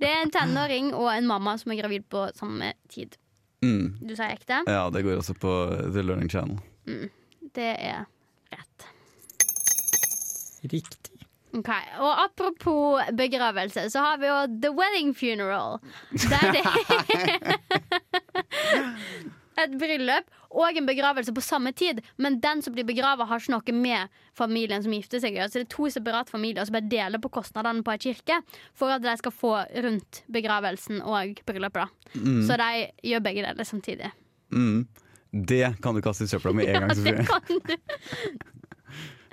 det er en tenåring og en mamma som er gravid på samme tid.
Mm.
Du sier ekte?
Ja, det går også på The Learning Channel.
Det er rett.
Riktig.
Ok, Og apropos begravelse, så har vi jo The Wedding Funeral. Der det Et bryllup og en begravelse på samme tid, men den som blir begrava, har ikke noe med familien som gifter seg å gjøre. Så det er to separate familier som bare deler på kostnadene på ei kirke for at de skal få rundt begravelsen og bryllupet. da. Så de gjør begge deler samtidig.
Mm. Det kan du kaste i søpla med
[laughs]
en gang.
Det
Sofie.
kan du.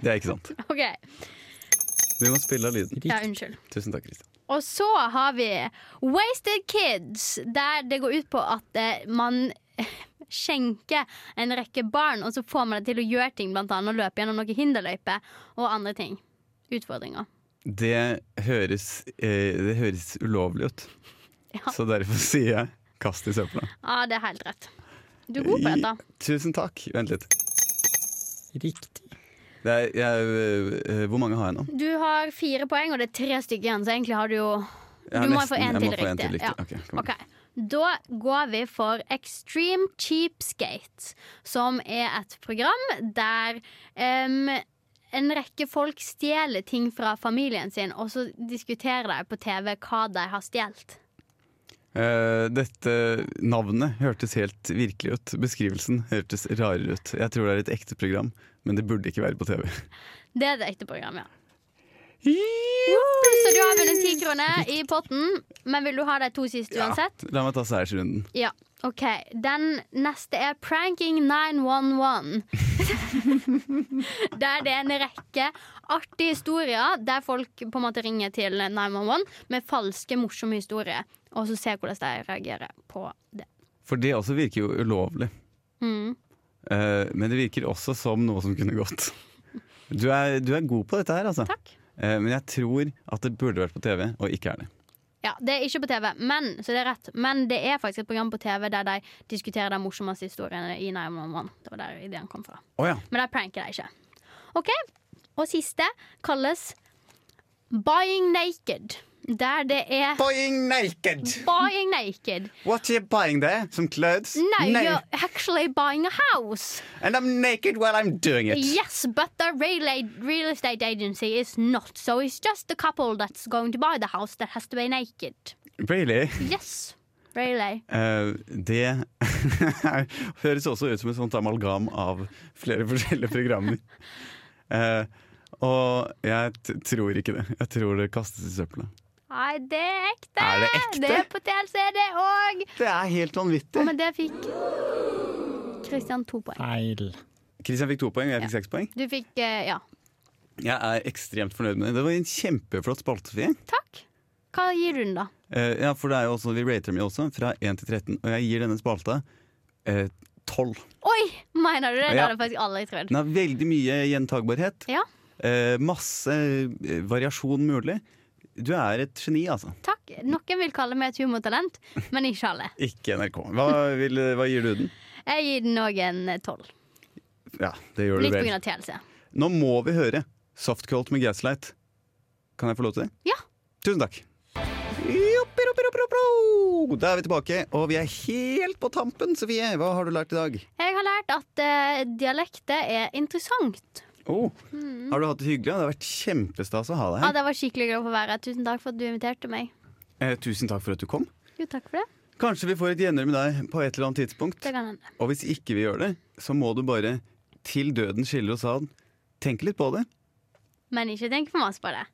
Det er ikke sant.
OK.
Vi må spille av lyden.
Ja, unnskyld.
Tusen takk, Kristian.
Og så har vi Wasted Kids, der det går ut på at eh, man [laughs] skjenker en rekke barn, og så får man det til å gjøre ting, blant annet å løpe gjennom noen hinderløyper og andre ting. Utfordringer.
Det høres, eh, det høres ulovlig ut.
Ja.
Så derfor sier jeg kast i søpla.
Ja, det er helt rett. Du er god på dette.
Tusen takk. Vent litt.
Riktig.
Det er, jeg, eh, eh, hvor mange har jeg nå?
Du har fire poeng, og det er tre stykker igjen, så egentlig har du jo
Jeg
Du
er
må
nesten-
få en
jeg
til
må få en
riktig.
til riktig.
Ja.
Ok, kom igjen.
OK. Da går vi for Extreme Cheapskate, som er et program der em, en rekke folk stjeler ting fra familien sin, og så diskuterer de på TV hva de har stjålet.
Eh, dette navnet hørtes helt virkelig ut. Beskrivelsen hørtes rarere ut. Jeg tror det er et ekte program, men det burde ikke være på TV.
Det er det ekte programmet, ja. Så du har vunnet ti kroner i potten, men vil du ha de to siste [laughs] uansett?
La meg ta seiersrunden.
Ja, ok Den neste er Pranking 911 [laughs] Der det er en rekke artige historier Der folk på en måte ringer til 911 Med falske, morsomme historier Og så se hvordan de reagerer på det
For det også virker jo ulovlig.
mm.
Eh, men det virker også som noe som kunne gått. Du er, du er god på dette her, altså.
Takk
Eh, men jeg tror at det burde vært på TV, og ikke er det.
ja, det er ikke på TV, men, så det er rett Men det er faktisk et program på TV der de diskuterer de morsomste historiene i 911 Det var der ideen kom fra
Å ja.
Men de pranker deg ikke. OK. Og siste kalles Buying Naked. Der det er
Buying naked!
Buying naked.
What are you buying there? Some clothes?
No, you're actually buying a house.
And I'm naked while I'm doing it.
Yes, but the real, a- real estate agency is not. So it's just the couple that's going to buy the house that has to be naked.
Really?
Yes. Really.
Eh, det [laughs] høres også ut som et sånt amalgam av flere forskjellige programmer. Eh, og jeg t tror ikke det. Jeg tror det kastes i søpla.
Nei, det er ekte.
Er det ekte?
Det er på TLC, det òg.
Det er helt
Og
vanvittig.
med det fikk Kristian to poeng.
Feil.
Kristian fikk to poeng, og jeg fikk seks poeng.
Du fikk eh, Ja.
Jeg er ekstremt fornøyd med det. Det var en kjempeflott spaltefie.
Takk. Hva gir du den, da?
Eh, ja, for det er jo også, vi rater dem jo også, fra 1 til 13. Og jeg gir denne spalta eh, 12.
Oi, mener du det? Det
Ja.
hadde jeg faktisk aldri trodd.
Den har veldig mye gjentagbarhet.
Ja.
Eh, masse eh, variasjon mulig. Du er et geni, altså.
Takk. Noen vil kalle meg et humortalent, men ikke alle.
Ikke NRK. Hva, vil, hva gir du den?
Jeg gir den òg en eh, tolv.
Ja, det gjør du
Litt på grunn
vel.
av TLC.
Nå må vi høre Softcult med Gaslight. Kan jeg få lov til det?
Ja.
Tusen takk. Joppiroppiroppiro! Da er vi tilbake, og vi er helt på tampen. Sofie, hva har du lært i dag?
Jeg har lært at eh, dialekter er interessant.
Oh. Har du hatt det hyggelig? Det har vært kjempestas å ha deg
Ja,
her.
det var skikkelig glad for å være her. Tusen takk for at du inviterte meg.
Eh, tusen takk for at du kom.
Jo, takk for det.
Kanskje vi får et gjenhør med deg på et eller annet tidspunkt.
Det kan hende.
Og hvis ikke vi gjør det, så må du bare til døden skiller oss ad. Tenk litt på det.
Men ikke tenk for masse på det.